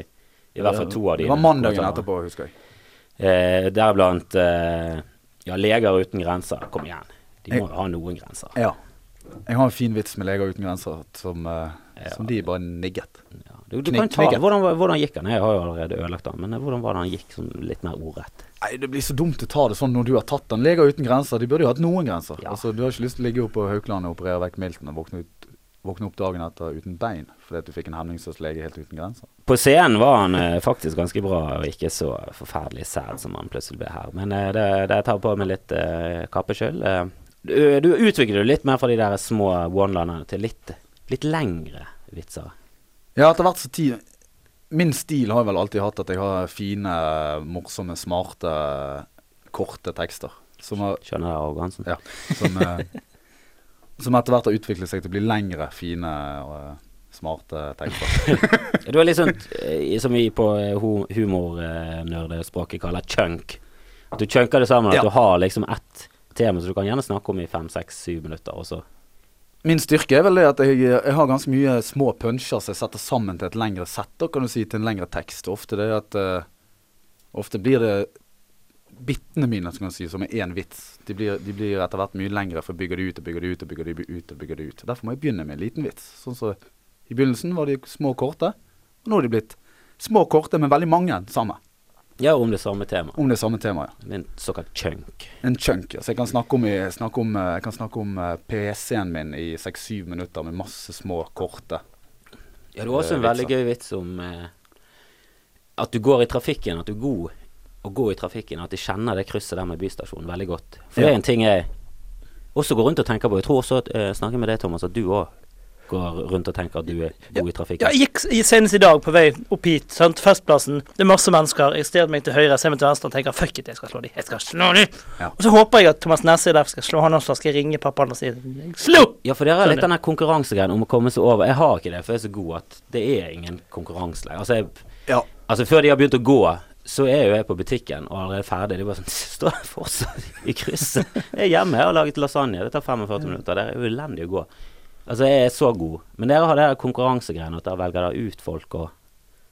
D: i hvert fall to av dine.
E: Det var mandagen
D: kommentarer.
E: etterpå, husker jeg.
D: Eh, Deriblant eh, Ja, Leger uten grenser. Kom igjen. De må
E: Jeg-
D: jo ha noen grenser.
E: Ja. Jeg har en fin vits med Leger uten grenser som, eh,
D: Ja.
E: som de bare nigget.
D: Ja. Du, du
E: Knik-
D: kan ta,
E: knikken.
D: hvordan, var- hvordan gikk han? Jeg har jo allerede ødelagt han, men eh, hvordan var det han gikk sånn litt mer ordrett?
E: Nei, Det blir så dumt å ta det sånn når du har tatt den. Leger uten grenser, de burde jo hatt noen grenser.
D: Ja.
E: Altså, Du har ikke lyst til å ligge oppe på Haukeland og operere vekk milten og våkne, ut, våkne opp dagen etter uten bein fordi at du fikk en hemningsløs lege helt uten grenser.
D: På scenen var han eh, faktisk ganske bra, og ikke så forferdelig sæd som han plutselig ble her. Men eh, det, det tar på meg litt eh, kappe sjøl. Eh, du, du utvikler jo litt mer fra de der små one-linerne til litt, litt lengre vitser.
E: Ja, etter hvert så tid Min stil har jeg vel alltid hatt at jeg har fine, morsomme, smarte, korte tekster. Som har
D: Skjønner du arrogansen?
E: Ja, som, eh, som etter hvert har utviklet seg til å bli lengre, fine og eh, smarte tekster.
D: Du er litt sånn eh, som vi på humornerdespråket kaller chunk. At du chunker det sammen, at
E: Ja.
D: du har liksom ett tema som du kan gjerne snakke om i fem, seks, syv minutter, og så
E: Min styrke er vel det at jeg, jeg har ganske mye små puncher som jeg setter sammen til et lengre sett, da kan du si, til en lengre tekst. Og Ofte det er at eh, Ofte blir det bitene mine som kan du si, som er én vits. De blir, de blir etter hvert mye lengre, for jeg bygger de ut og bygger de ut og bygger de ut. og bygger de ut. Derfor må jeg begynne med en liten vits. Sånn som I begynnelsen var de små og korte, og nå er de blitt små og korte, men veldig mange samme.
D: Ja, om det samme temaet.
E: Om det samme temaet. ja.
D: Det er En såkalt chunk.
E: En chunk. Altså jeg kan snakke om, i- snakke om, eh, jeg kan snakke om eh, PC-en min i seks-syv minutter med masse små, korte.
D: Ja, det var også en
E: Eh,
D: veldig gøy vits om eh, at du går i trafikken, at du er god å gå i trafikken, at de kjenner det krysset der med bystasjonen veldig godt. For det
E: Ja.
D: er en ting jeg også går rundt og tenker på. Jeg tror også at eh, snakker med deg, Thomas, at du òg går rundt og tenker at du er god i
C: Ja,
D: trafikken.
C: jeg gikk s- senest i dag på vei opp hit, sant, Festplassen. Det er masse mennesker. Jeg stirrer meg til høyre, ser meg til venstre og tenker 'fuck it, jeg skal slå de, jeg skal slå de'.
E: Ja.
C: Og så håper jeg at Thomas Nesse er der, skal jeg slå han også, skal jeg ringe pappaen og si 'slo'.
D: Ja, for dere har litt
C: Skjønner.
D: den der konkurransegreien om å komme seg over. Jeg har ikke det, for jeg er så god at det er ingen konkurranse lenger. Altså, jeg,
E: Ja.
D: altså, før de har begynt å gå, så er jo jeg på butikken og allerede ferdig. De bare sånn (laughs) Står jeg fortsatt i krysset? Jeg er hjemme, jeg har laget lasagne. Det tar 45 minutter. Dere er jo elendige å gå. Altså, jeg er så god. Men dere har det der konkurransegreiene at dere velger dere ut folk og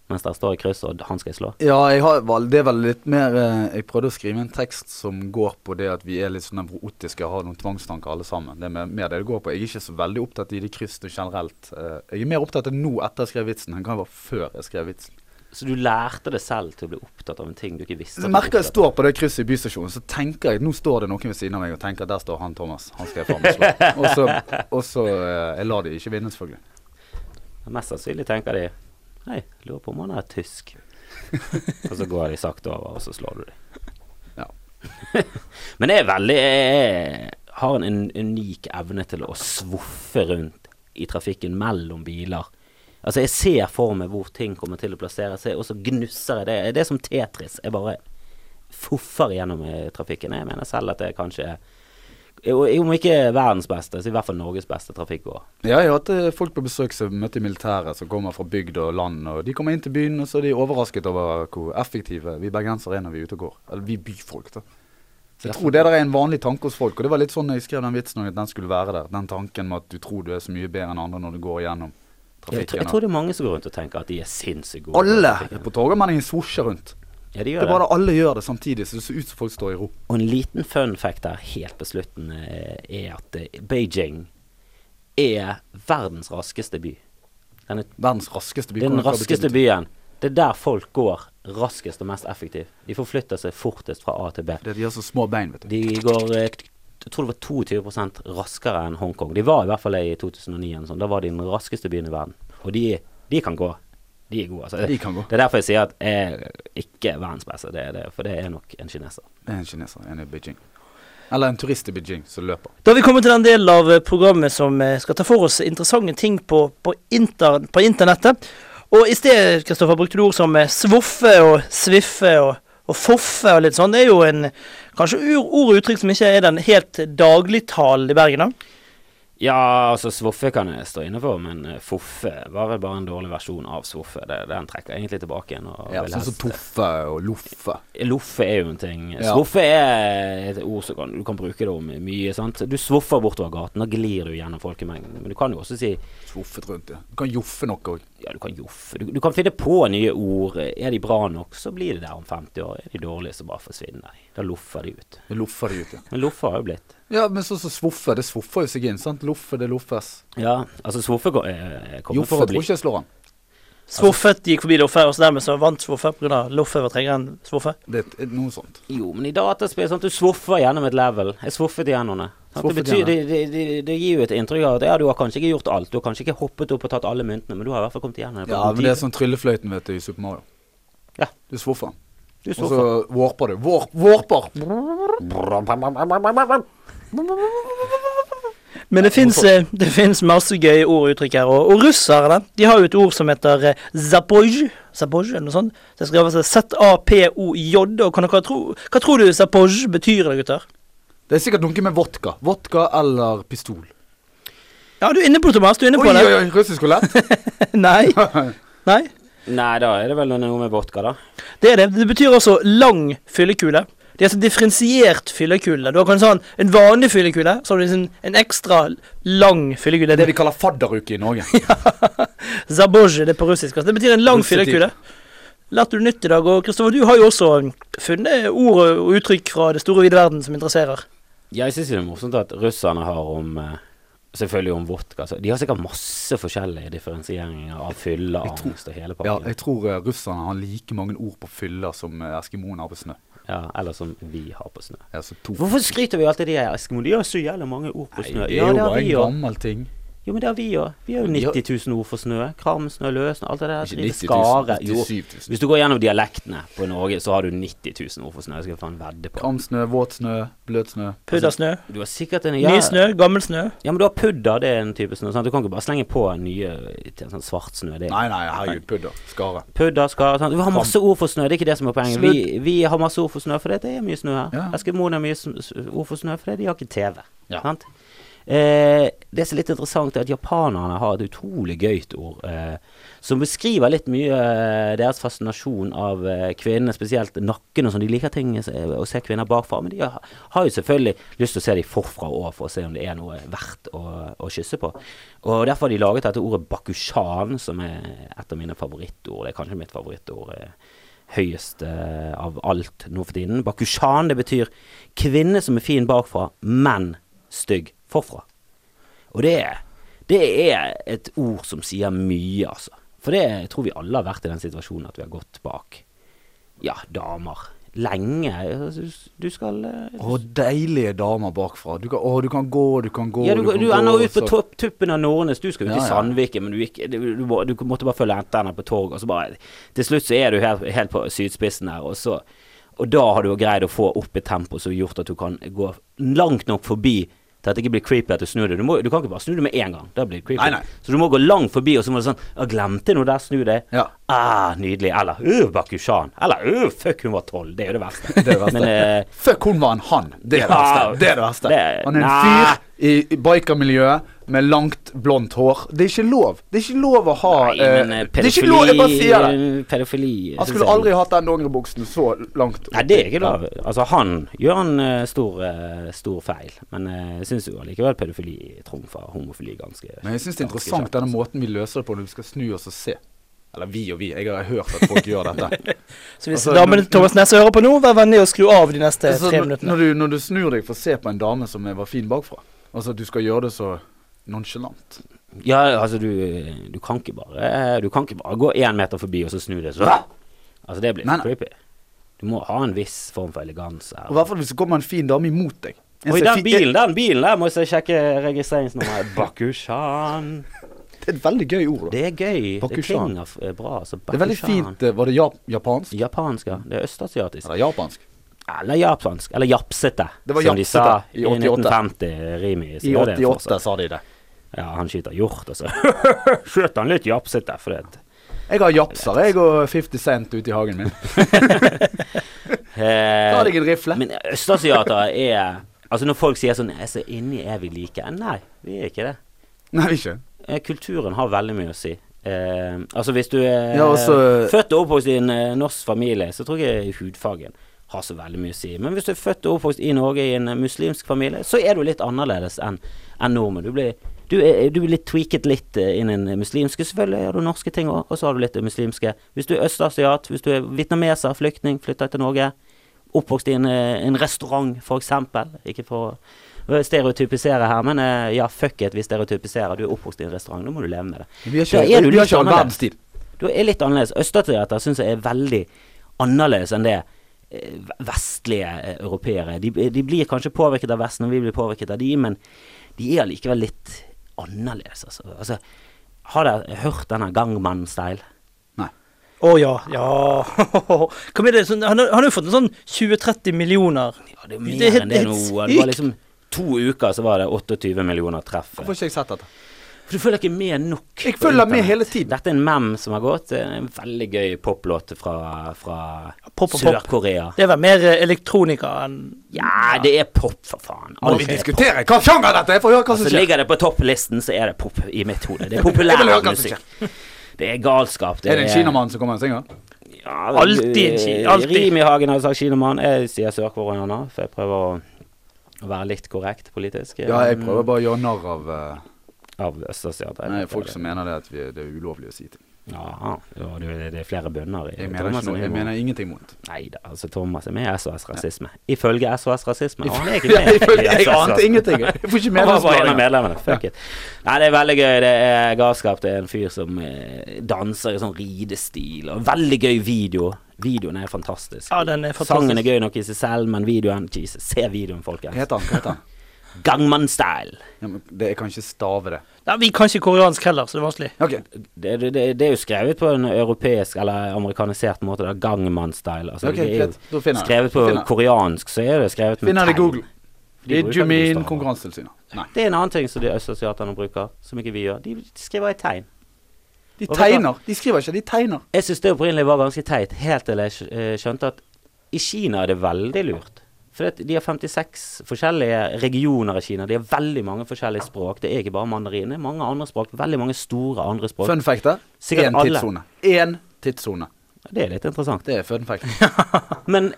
D: mens dere står i krysset, og han skal jeg slå.
E: Ja, jeg har, vel- det er vel litt mer eh, Jeg prøvde å skrive en tekst som går på det at vi er litt sånn nevrotiske og har noen tvangstanker alle sammen. Det er mer- mer det det går på. Jeg er ikke så veldig opptatt i de kryssene generelt. Eh, Jeg er mer opptatt av nå etter jeg skrev vitsen enn hva jeg var før jeg skrev vitsen.
D: Så du lærte det selv til å bli opptatt av en ting du ikke visste.
E: Så
D: at du
E: merker jeg
D: opptatt av.
E: står på det krysset i bystasjonen, så tenker jeg nå står det noen ved siden av meg og tenker der står han Thomas, han skal jeg faen meg (laughs) slå. Og så, og så eh, Jeg lar de ikke vinne, selvfølgelig.
D: Men Mest sannsynlig tenker de Hei, lurer på om han er tysk. og så går de sakte over, og så slår du dem.
E: Ja.
D: (laughs) Men jeg er veldig Jeg har en un- unik evne til å svoffe rundt i trafikken mellom biler. Altså, jeg ser for meg hvor ting kommer til å plassere seg, og så gnusser jeg det. Det er som Tetris. Jeg bare foffer gjennom eh, trafikken. Jeg mener selv at jeg kanskje er Om ikke verdens beste, så i hvert fall Norges beste trafikkår.
E: Ja, jeg har hatt eh, folk på besøk som møtte i militæret, som kommer fra bygd og land. og De kommer inn til byen, og så er de overrasket over hvor effektive vi bergensere er når vi er ute og går. Eller vi byfolk, da. Så jeg tror det der er en vanlig tanke hos folk. Og det var litt sånn jeg skrev den vitsen om at den skulle være der. Den tanken med at du tror du er så mye bedre enn andre når du går gjennom
D: Jeg, tror-
E: trafikken.
D: jeg tror det er mange som går rundt og tenker at de er sinnssykt gode.
E: alle
D: på trafikken.
E: på Torgallmenningen svosjer rundt.
D: Ja, de
E: Det
D: gjør
E: er
D: det.
E: bare alle gjør det samtidig, så det ser ut som folk står i ro.
D: Og en liten fun fact der helt på slutten eh, er at eh, Beijing er verdens raskeste by. Den er,
E: Verdens raskeste by.
D: det er den
E: Hva betyr
D: raskeste
E: det?
D: byen. Det er der folk går raskest og mest effektivt. De forflytter seg fortest fra A til B.
E: Det er de har så små bein, vet du.
D: De går eh, jeg tror det var 22 raskere enn Hongkong. De var i hvert fall det i 2009. eller noe sånt. Da var de den raskeste byen i verden. Og de, de kan gå. De er gode. Altså.
E: De kan gå.
D: Det er derfor jeg sier at jeg er ikke er verdens beste, det er det, for det er nok en kineser.
E: Det er en kineser, en i Beijing. Eller en turist i Beijing som løper.
C: Da har vi kommet til den delen av eh, programmet som eh, skal ta for oss interessante ting på, på, inter, på internettet. Og i sted, Kristoffer, brukte du ord som eh, svoffe og sviffe og, og foffe og litt sånn. Det er jo en, kanskje ur- ord og uttrykk som ikke er den helt dagligtalen i Bergen, da.
D: Ja, altså Svoffe kan jeg stå inne for, men eh, Foffe var vel bare en dårlig versjon av Svoffe. Det, den trekker jeg egentlig tilbake igjen. Og
E: Ja,
D: vil
E: sånn som
D: helst-
E: Toffe og Loffe.
D: Loffe er jo en ting.
E: Ja.
D: Svoffe er et ord som kan, du kan bruke det om mye. sant? Du svoffer bortover gaten, da glir du gjennom folkemengden. Men du kan jo også si
E: Svoffet rundt, ja. Du kan joffe noe òg.
D: ja, du kan joffe. Du, du kan finne på nye ord. Er de bra nok, så blir de der om 50 år. Er de dårlige, så bare forsvinner de. Da loffer de ut.
E: Det loffer de ut, ja.
D: Men loffer har jo blitt
E: Ja, men sånn som svoffe, det svoffer jo seg inn, sant? Loffe, det loffes.
D: Ja, altså svoffe går- eh, kommer
E: Joffe
D: for å
E: tror
D: bli.
E: ikke jeg slår han.
C: Svoffet gikk forbi Loffe, og så dermed så vant Svoffe pga. Loffe var trengere enn Svoffe.
E: Det er et- noe sånt.
D: Jo, men i dataspill sånn at du svoffer gjennom et level. Jeg svoffet gjennom det. Sant? Det,
E: Svoffet
D: betyr, det,
E: gjennom.
D: det, det, det gir jo et inntrykk av at ja, du har kanskje ikke gjort alt. Du har kanskje ikke hoppet opp og tatt alle myntene, men du har i hvert fall kommet igjennom det. på
E: Ja,
D: god
E: men det er
D: tid.
E: sånn tryllefløyten, vet du, i Super Mario.
D: Ja.
E: Du svoffer han.
D: Du
E: Og
D: svoffer.
E: så warper du. Warp, warper!
C: Men det fins, eh, det fins masse gøye ord og uttrykk her. Og, og russerne de har jo et ord som heter eh, zapozj. Zapozj, eller noe sånt. Det altså skrives Z-A-P-O-J. Og kan dere tro, hva tror du zapozj betyr, da, gutter?
E: Det er sikkert noe med vodka. Vodka eller pistol.
C: Ja, du er inne på det, Thomas. Du er inne
E: Oi,
C: på
E: oi,
C: det.
E: oi, russisk roulette.
C: (laughs)
E: (laughs)
C: Nei. Nei.
D: Nei, da er det vel noe med vodka, da.
C: Det er det. Det betyr også lang fyllekule. De er så differensiert fyllekule. Du har kanskje sånn en vanlig fyllekule, så har du liksom en ekstra lang fyllekule.
E: Det er det vi kaller fadderuke i (laughs) Norge.
C: Zabozje, det er på russisk. altså. Det betyr en lang
E: Russetid.
C: fyllekule. Lærte du nytt i dag? Og Kristoffer, du har jo også funnet ord og uttrykk fra det store vide verden som interesserer.
D: Jeg syns det er morsomt at russerne har om eh, Selvfølgelig om vodka. Så de har sikkert masse forskjellige differensieringer av fylle, angst og hele
E: Ja,
D: pakken.
E: jeg tror eh, russerne har like mange ord på fylla som eh, eskimoene har på snø.
D: Ja, eller som vi har på snø.
E: Ja, så to.
D: Hvorfor skryter vi alltid de her eskimoene? De har så jævlig mange ord på
E: Nei,
D: snø.
E: det
D: Ja,
E: er jo
D: det har
E: bare
D: vi
E: en
D: òg.
E: gammel ting.
D: Jo, men det har vi òg. Vi har jo
E: Ja.
D: 90 000 ord for snø. Kram, snø, løs, alt det der.
E: Ikke altså,
D: driver
E: 90 000,
D: skare. Jo.
E: 87 000.
D: Hvis du går gjennom dialektene på Norge, så har du 90 000 ord for snø. Jeg skal faen vedde på.
E: Kramsnø, våt snø, bløt snø.
C: Puddersnø.
D: Du har sikkert en
C: Ny snø, gammel snø.
D: Ja, men du har pudder, det er en type snø. Sant? Du kan ikke bare slenge på nye til en sånn svart snø. Det. er-
E: Nei, nei, herregud, pudder. Skare.
D: Pudder, skar sant? Vi har masse ord for snø, det er ikke det som er poenget. Vi, vi har masse ord for snø fordi det er mye snø her.
E: Ja.
D: Eskimoene har mye sn- s- ord for snø fordi de har ikke TV.
E: Ja.
D: Sant? Eh, det som er litt interessant, er at japanerne har et utrolig gøyt ord eh, som beskriver litt mye eh, deres fascinasjon av eh, kvinnene, spesielt nakken og sånn. De liker ting eh, å se kvinner bakfra, men de har, har jo selvfølgelig lyst til å se dem forfra og for å se om det er noe verdt å, å kysse på. Og derfor har de laget dette ordet bakushan, som er et av mine favorittord. Det er kanskje mitt favorittord. Eh, høyest eh, av alt nå for tiden. Bakushan, det betyr kvinne som er fin bakfra, men stygg forfra. Og det, er- det er et ord som sier mye, altså. For det jeg tror vi alle har vært i den situasjonen at vi har gått bak ja, damer lenge. Altså, Du skal eh,
E: Å, deilige damer bakfra. Du kan, å, du kan gå, du kan gå,
D: ja, du,
E: kan
D: du
E: gå,
D: ender ut på
E: så-
D: topp, tuppen av Nordnes. Du skal jo
E: Ja,
D: til
E: ja.
D: Sandviken, men du, gikk, du, du, må- du måtte bare følge etter henne på torget. og så bare- Til slutt så er du helt, helt på sydspissen der, og så Og da har du jo greid å få opp et tempo som har gjort at du kan gå langt nok forbi til at det ikke blir creepy at du snur deg. Du, må, du kan ikke bare snu deg med en gang. Da blir det creepy.
E: Nei, nei.
D: Så du må gå langt forbi, og så må du sånn «Å, 'Glemte jeg noe der, snu deg'.
E: Ja.
D: Ah, nydelig. Eller 'Øh, Bakushan'. Eller 'Øh, fuck, hun var tolv'. Det er jo det verste.
E: Det er det verste.
D: Men, eh,
E: Fuck, hun var en han. Det er det
D: Ja,
E: verste. Det er det verste.
D: det-
E: Han er en
D: Nei.
E: fyr i i bikermiljøet med langt, blondt hår. Det er ikke lov. Det er ikke lov å ha
D: Nei,
E: eh,
D: men eh,
E: Det er ikke lov, jeg bare sier
D: pedofili eh,
E: det.
D: Pedofili
E: Han
D: synes
E: skulle
D: jeg-
E: aldri hatt den dongeribuksen så langt.
D: Nei, det er ikke lov. Altså, han gjør en eh, stor, eh, stor feil, men eh, jeg syns jo allikevel pedofili trumfer homofili ganske
E: Men jeg syns
D: ganske
E: det er interessant
D: kjapt.
E: denne måten vi løser det på når vi skal snu oss og se. Eller vi og vi. Jeg har hørt at folk gjør dette.
C: Så hvis
E: Altså,
C: damene
E: når-
C: til Thomas Nesse hører på nå, vær vennlig å skru av de neste
D: Altså,
E: Så
C: tre
E: Altså, når,
C: minuttene.
E: når, du, når du snur deg for å se på en dame som var fin bakfra Altså at du skal gjøre det så nonchalant.
D: Ja, altså, du, du kan ikke bare Du kan ikke bare gå én meter forbi og så snu deg, så Altså, det blir
E: Nei,
D: for
E: nei.
D: creepy. Du må ha en viss form for eleganse. her.
E: Og I hvert fall hvis det kommer en fin dame imot deg. En
D: Oi,
E: som er
D: den
E: fin-
D: bilen, den bilen der må jeg sjekke
E: (laughs)
D: registreringsnummeret. Bakushan.
E: Det er et veldig gøy ord. da.
D: Det er gøy. Det
E: Bakushan.
D: klinger f- bra. Altså,
E: Det er veldig
D: Bakushan.
E: fint eh, Var det jap japansk?
D: Japansk, ja. Det er østasiatisk.
E: Eller japansk?
D: Eller japansk. Eller japsete,
E: Det var
D: som de
E: japsete
D: sa
E: i
D: i
E: 88.
D: 1950. Rimi. så
E: I
D: gjør det
E: 88
D: fortsatt.
E: sa de det.
D: Ja, han skyter hjort, og så (laughs) skjøt han litt japsete. For det.
E: Jeg har japser, jeg og 50 Cent ute i hagen min. Ta deg
D: Eh,
E: en rifle.
D: men østasiater er Altså, når folk sier sånn altså, Inni er vi like. Nei, vi er ikke det.
E: Nei, ikke.
D: Eh, Kulturen har veldig mye å si. Eh, altså, hvis du er
E: Ja, altså-
D: født og oppvokst i en eh, norsk familie, så tror jeg ikke hudfargen har så veldig mye å si. Men hvis du er født og oppvokst i Norge i en eh, muslimsk familie, så er du litt annerledes enn enn nordmenn. Du blir, du er, du blir litt tweaket litt eh, innen det muslimske, selvfølgelig har du norske ting òg, og så har du litt det muslimske. Hvis du er østasiat, hvis du er vietnameser, flyktning, flytter til Norge, oppvokst i en, eh, en restaurant, for eksempel, ikke for å stereotypisere her, men eh, ja, fuck it, vi stereotypiserer. Du er oppvokst i en restaurant, nå må du leve med det.
E: Vi har
D: Da
E: ikke,
D: er du
E: vi har
D: litt
E: ikke all
D: annerledes.
E: verdens tid.
D: Du er litt annerledes. Østasiater syns jeg er veldig annerledes enn det eh, vestlige eh, europeere. De, de blir kanskje påvirket av Vesten, og vi blir påvirket av de, men de er allikevel litt annerledes, altså. altså har dere hørt denne Gangman-style?
C: Å ja. Ja. (laughs) Kom igjen, det er sånn, han, har- han har jo fått en sånn 20-30 millioner.
D: Ja, det er
C: Det er
D: mer
C: helt-
D: enn det
C: helt
D: nå. Det var
C: sykt.
D: liksom to uker, så var det 28 millioner treff.
E: Hvorfor har ikke jeg sett dette?
D: For du følger ikke med nok.
E: Jeg
D: på
E: følger med
D: internett.
E: hele tiden.
D: Dette er en mem som har gått. Det er En veldig gøy poplåt fra, fra
C: pop og pop.
D: Sør-Korea.
C: Det er vel mer eh, elektronika enn
D: Ja, det er pop, for faen.
E: Må
D: Alt
E: vi
D: er pop.
E: diskutere hva sjanger dette er, for å høre hva som
D: Så
E: skjer?
D: ligger det på topplisten, så er det pop i mitt hode.
E: (laughs)
D: Det er
E: Jeg vil høre hva
D: populær
E: som
D: musikk. Det er galskap.
E: Er det en kinamann som kommer og synger?
D: Ja,
C: Alltid en ki-
D: eh,
C: alltid.
D: Rim i hagen har sagt kinamann. Jeg sier sørkoreaner, for jeg prøver å å være litt korrekt politisk. eh,
E: Ja, jeg prøver bare å gjøre narr av eh,
D: Av østasiater.
E: nei, folk som mener det at vi, det er ulovlig å si ting.
D: Ja, ja det, det er flere bønner i
E: Jeg mener, ikke noe, jeg mener ingenting vondt.
D: Nei da, altså Thomas er med i SOS Rasisme. Ifølge SOS Rasisme. Og Han er
E: (laughs)
D: ikke
E: (laughs) Ja,
D: med.
E: jeg føler-
D: i
E: jeg
D: SOS
E: ante
D: Rasisme.
E: ingenting. altså. (laughs) Jeg får ikke
D: Han var bare en av
E: medlemsbladet.
D: medlemmene. Fuck it. Nei, det er veldig gøy. Det er galskap. Det er en fyr som eh, danser i sånn ridestil. Og veldig gøy video. Videoen er fantastisk.
C: Ja, den er
D: Sangen er
C: fantastisk.
D: gøy nok i seg selv, men videoen Jesus, se videoen,
E: Hva
D: folkens.
E: heter han? Hva heter han?
D: Gangman-style.
E: Ja, men det, jeg kan ikke stave det.
C: Nei, vi kan ikke koreansk heller, så det er vanskelig.
E: Ok,
D: Det, det, det, det er jo skrevet på en europeisk eller amerikanisert måte. da, Gangman-style. Altså,
E: ok,
D: det er
E: greit. Da
D: jo
E: finner jeg
D: skrevet på
E: Finner jeg.
D: koreansk, så er det skrevet med
E: Finner det i
D: tegn.
E: Google.
D: De
E: Det er
D: bruker
E: Jumin
D: bokstaver.
E: Konkurransetilsynet. Nei.
D: Det er en annen ting som de østasiatene bruker, som ikke vi gjør. De skriver i tegn.
E: De
D: Og vet du hva?
E: tegner. De skriver ikke, de tegner.
D: Jeg syns det opprinnelig var ganske teit, helt til jeg skj- eh, skjønte at i Kina er det veldig lurt. For at de har 56 forskjellige regioner i Kina. De har veldig mange forskjellige språk. Det er ikke bare mandarin, det er mange andre språk. Veldig mange store andre språk.
E: Fun fact der.
D: Sikkert
E: Én
D: alle.
E: tidssone. Én tidssone.
D: Det er litt interessant.
E: Det er fun (laughs) fact.
D: Men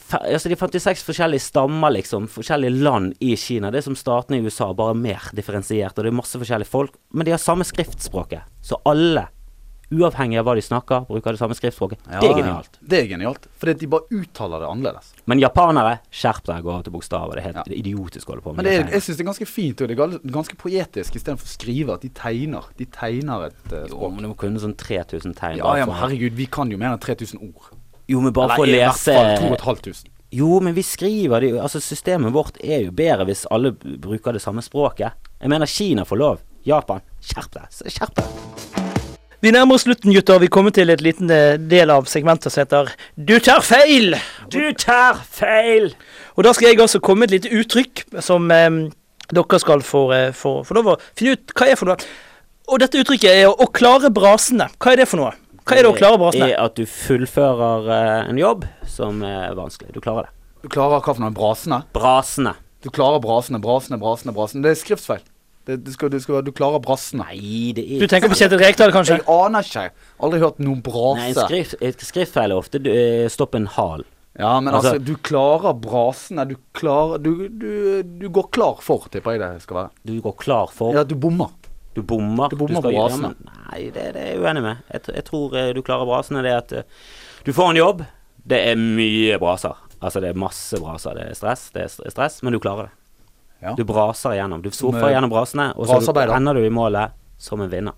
D: fe- altså, de 56 forskjellige stammer, liksom, forskjellige land i Kina. Det er som statene i USA, bare mer differensiert. Og det er masse forskjellige folk. Men de har samme skriftspråket. Så alle, uavhengig av hva de snakker, bruker det samme skriftspråket.
E: Ja,
D: det er
E: ja.
D: genialt.
E: Det er genialt. Fordi at de bare uttaler det annerledes.
D: Men japanere, skjerp deg, gå av til bokstaver. Det er helt
E: Ja.
D: det er idiotisk å holde på med.
E: Men det er,
D: de
E: jeg syns det er ganske fint, og det er gal- ganske poetisk istedenfor å skrive at de tegner. De tegner et eh,
D: tegnene. jo,
E: språk.
D: men du må kunne sånn 3000 tegn.
E: Ja,
D: bare
E: ja,
D: for-
E: men herregud, vi kan jo mer enn 3000 ord.
D: jo, men bare for å
E: i hvert fall
D: lese
E: 2500.
D: Jo, men vi skriver det jo Altså, systemet vårt er jo bedre hvis alle b- bruker det samme språket. Jeg mener, Kina får lov. Japan, skjerp deg. Så Skjerp deg.
C: Vi nærmer oss slutten, gutter. Vi kommer til et liten eh, del av segmentet som heter Du tar feil!
D: Du tar feil!
C: Og da skal jeg altså komme med et lite uttrykk som eh, dere skal få, eh, få, få lov å finne ut hva er for noe. Og dette uttrykket er å, å klare brasene. Hva er det for noe? Hva er det å klare brasene?
D: er at du fullfører eh, en jobb som er vanskelig. Du klarer det.
E: Du klarer hva for noe? Brasene?
D: Brasende.
E: Du klarer brasene, brasene, brasene. brasene. Det er skriftfeil. Det, du, skal, du, skal, du klarer brasene.
D: Nei, det
C: Du
D: er
C: tenker på Kjetil Rekdal, kanskje?
E: Jeg aner ikke. Aldri hørt noen
D: Nei, en
E: brase.
D: skrift, et skriftfeil er ofte du, eh, stopp en hal.
E: ja, men altså,
D: altså-
E: du klarer brasene. Du klarer Du, du, du går klar for, tipper jeg det skal være.
D: Du går klar for
E: Ja, du bommer.
D: Du bommer.
E: Du bommer
D: skal
E: på
D: gjøre-
E: brasene.
D: Ja, men- Nei, det, det er jeg uenig med. Jeg, tr- jeg tror eh, du klarer brasene. Det er at eh, du får en jobb. Det er mye braser. Altså, det er masse braser. Det er stress, det er st- stress men du klarer det.
E: Ja.
D: Du braser gjennom. Du
E: eh,
D: surfer gjennom brasene, og så du,
E: brasearbeider.
D: ender du i målet som en vinner.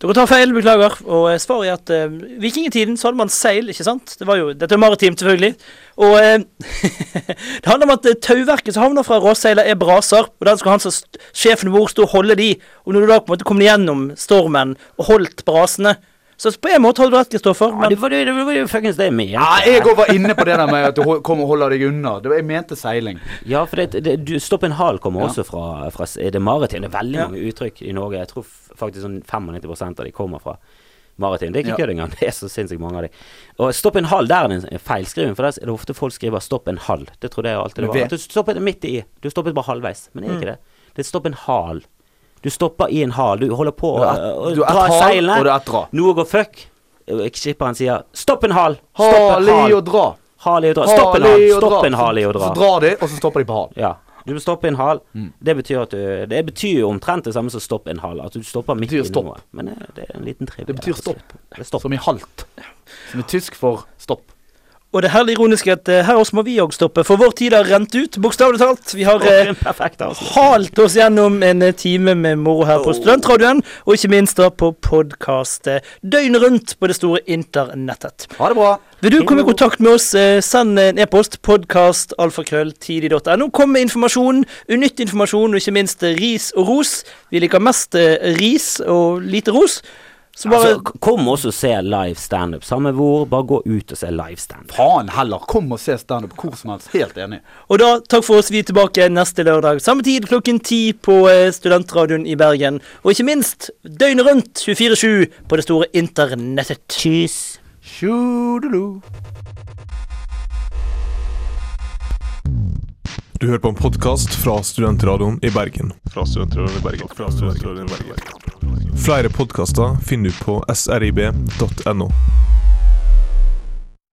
C: Dere tar feil, beklager. Og eh, svaret er at eh, vikingtiden så hadde man seil, ikke sant? Det var jo, Dette er maritimt, selvfølgelig. Og eh, (laughs) det handler om at eh, tauverket som havner fra råseila, er braser. Og der skal han som st- sjefen vår stå og holde de. Og når du da på en måte kom gjennom stormen og holdt brasene Så på en måte har du rett, Kristoffer.
D: Ja,
C: Men
D: det var det, det, var det, fuckings det jeg mente.
E: Ja, jeg òg var inne på det der med at du hol- kom og holder deg unna. Det var- Jeg mente seiling.
D: Ja, for det, det, du, stopp en hal kommer
E: Ja.
D: også fra, fra s- det maritime. Det er veldig
C: Ja.
D: mange uttrykk i Norge. Jeg tror f- faktisk sånn 95 av de kommer fra maritim. Det er ikke
E: Ja.
D: kødd engang. (laughs) Det er så sinnssykt mange av de. Og stopp en hal, der er det en- en feilskriving. For der er det ofte folk skriver stopp en hal. Det trodde jeg alltid det
E: Med
D: var.
E: V.
D: At du stoppet midt i. Du stoppet bare halvveis. Men det er ikke det. Det er stopp en hal. Du stopper i en hal. Du holder på å
E: Du er ett-
D: å
E: du er
D: dra
E: et hal, og du er
D: seilene.
E: et dra.
D: Noe går fuck. Skipperen sier stopp en hal. Stopp en
E: Hal i
D: hal.
E: og dra.
D: Hal i og dra.
E: Hal
D: Stopp en
E: i
D: hal.
E: og dra.
D: Stopp en hal i og dra.
E: Så drar de, og så stopper de på hal.
D: Ja. Du må stoppe en hal.
E: Mm.
D: Det betyr at du Det betyr jo omtrent det samme som stopp en hal. At du stopper midt
E: Betyr
D: i
E: stopp.
D: noe. Men eh, det, det er en liten trivia.
E: Det betyr
D: altså.
E: stopp.
D: Det er stopp.
E: Som i halt. Som er tysk for stopp.
C: Og det herlig ironiske er at eh, her også må vi òg stoppe, for vår tid har rent ut, bokstavelig talt. Vi har eh,
D: Perfekt avslutning.
C: halt oss gjennom en eh, time med moro her på Studentradioen, og ikke minst da på podkast døgnet rundt på det store internettet.
E: Ha det bra.
C: Vil du komme i kontakt med oss, eh, send en e-post podkastalfakrølltidig.no. Kom med informasjon, unyttig informasjon, og ikke minst eh, ris og ros. Vi liker mest eh, ris og lite ros. Så bare
D: Altså, k- kom også og se live standup. Samme hvor, bare gå ut og se live standup.
E: Faen heller. Kom og se standup hvor som helst. Helt enig.
C: Og da, takk for oss. Vi er tilbake neste lørdag samme tid klokken ti på eh, Studentradioen i Bergen. Og ikke minst døgnet rundt 24-7 på det store internettet. Tjus.
E: Tjodelu.
A: Du hører på en podkast fra Studentradioen i Bergen.
B: Fra Studentradioen i Bergen. Fra Studentradioen i Bergen.
A: Flere podkaster finner du på srib.no.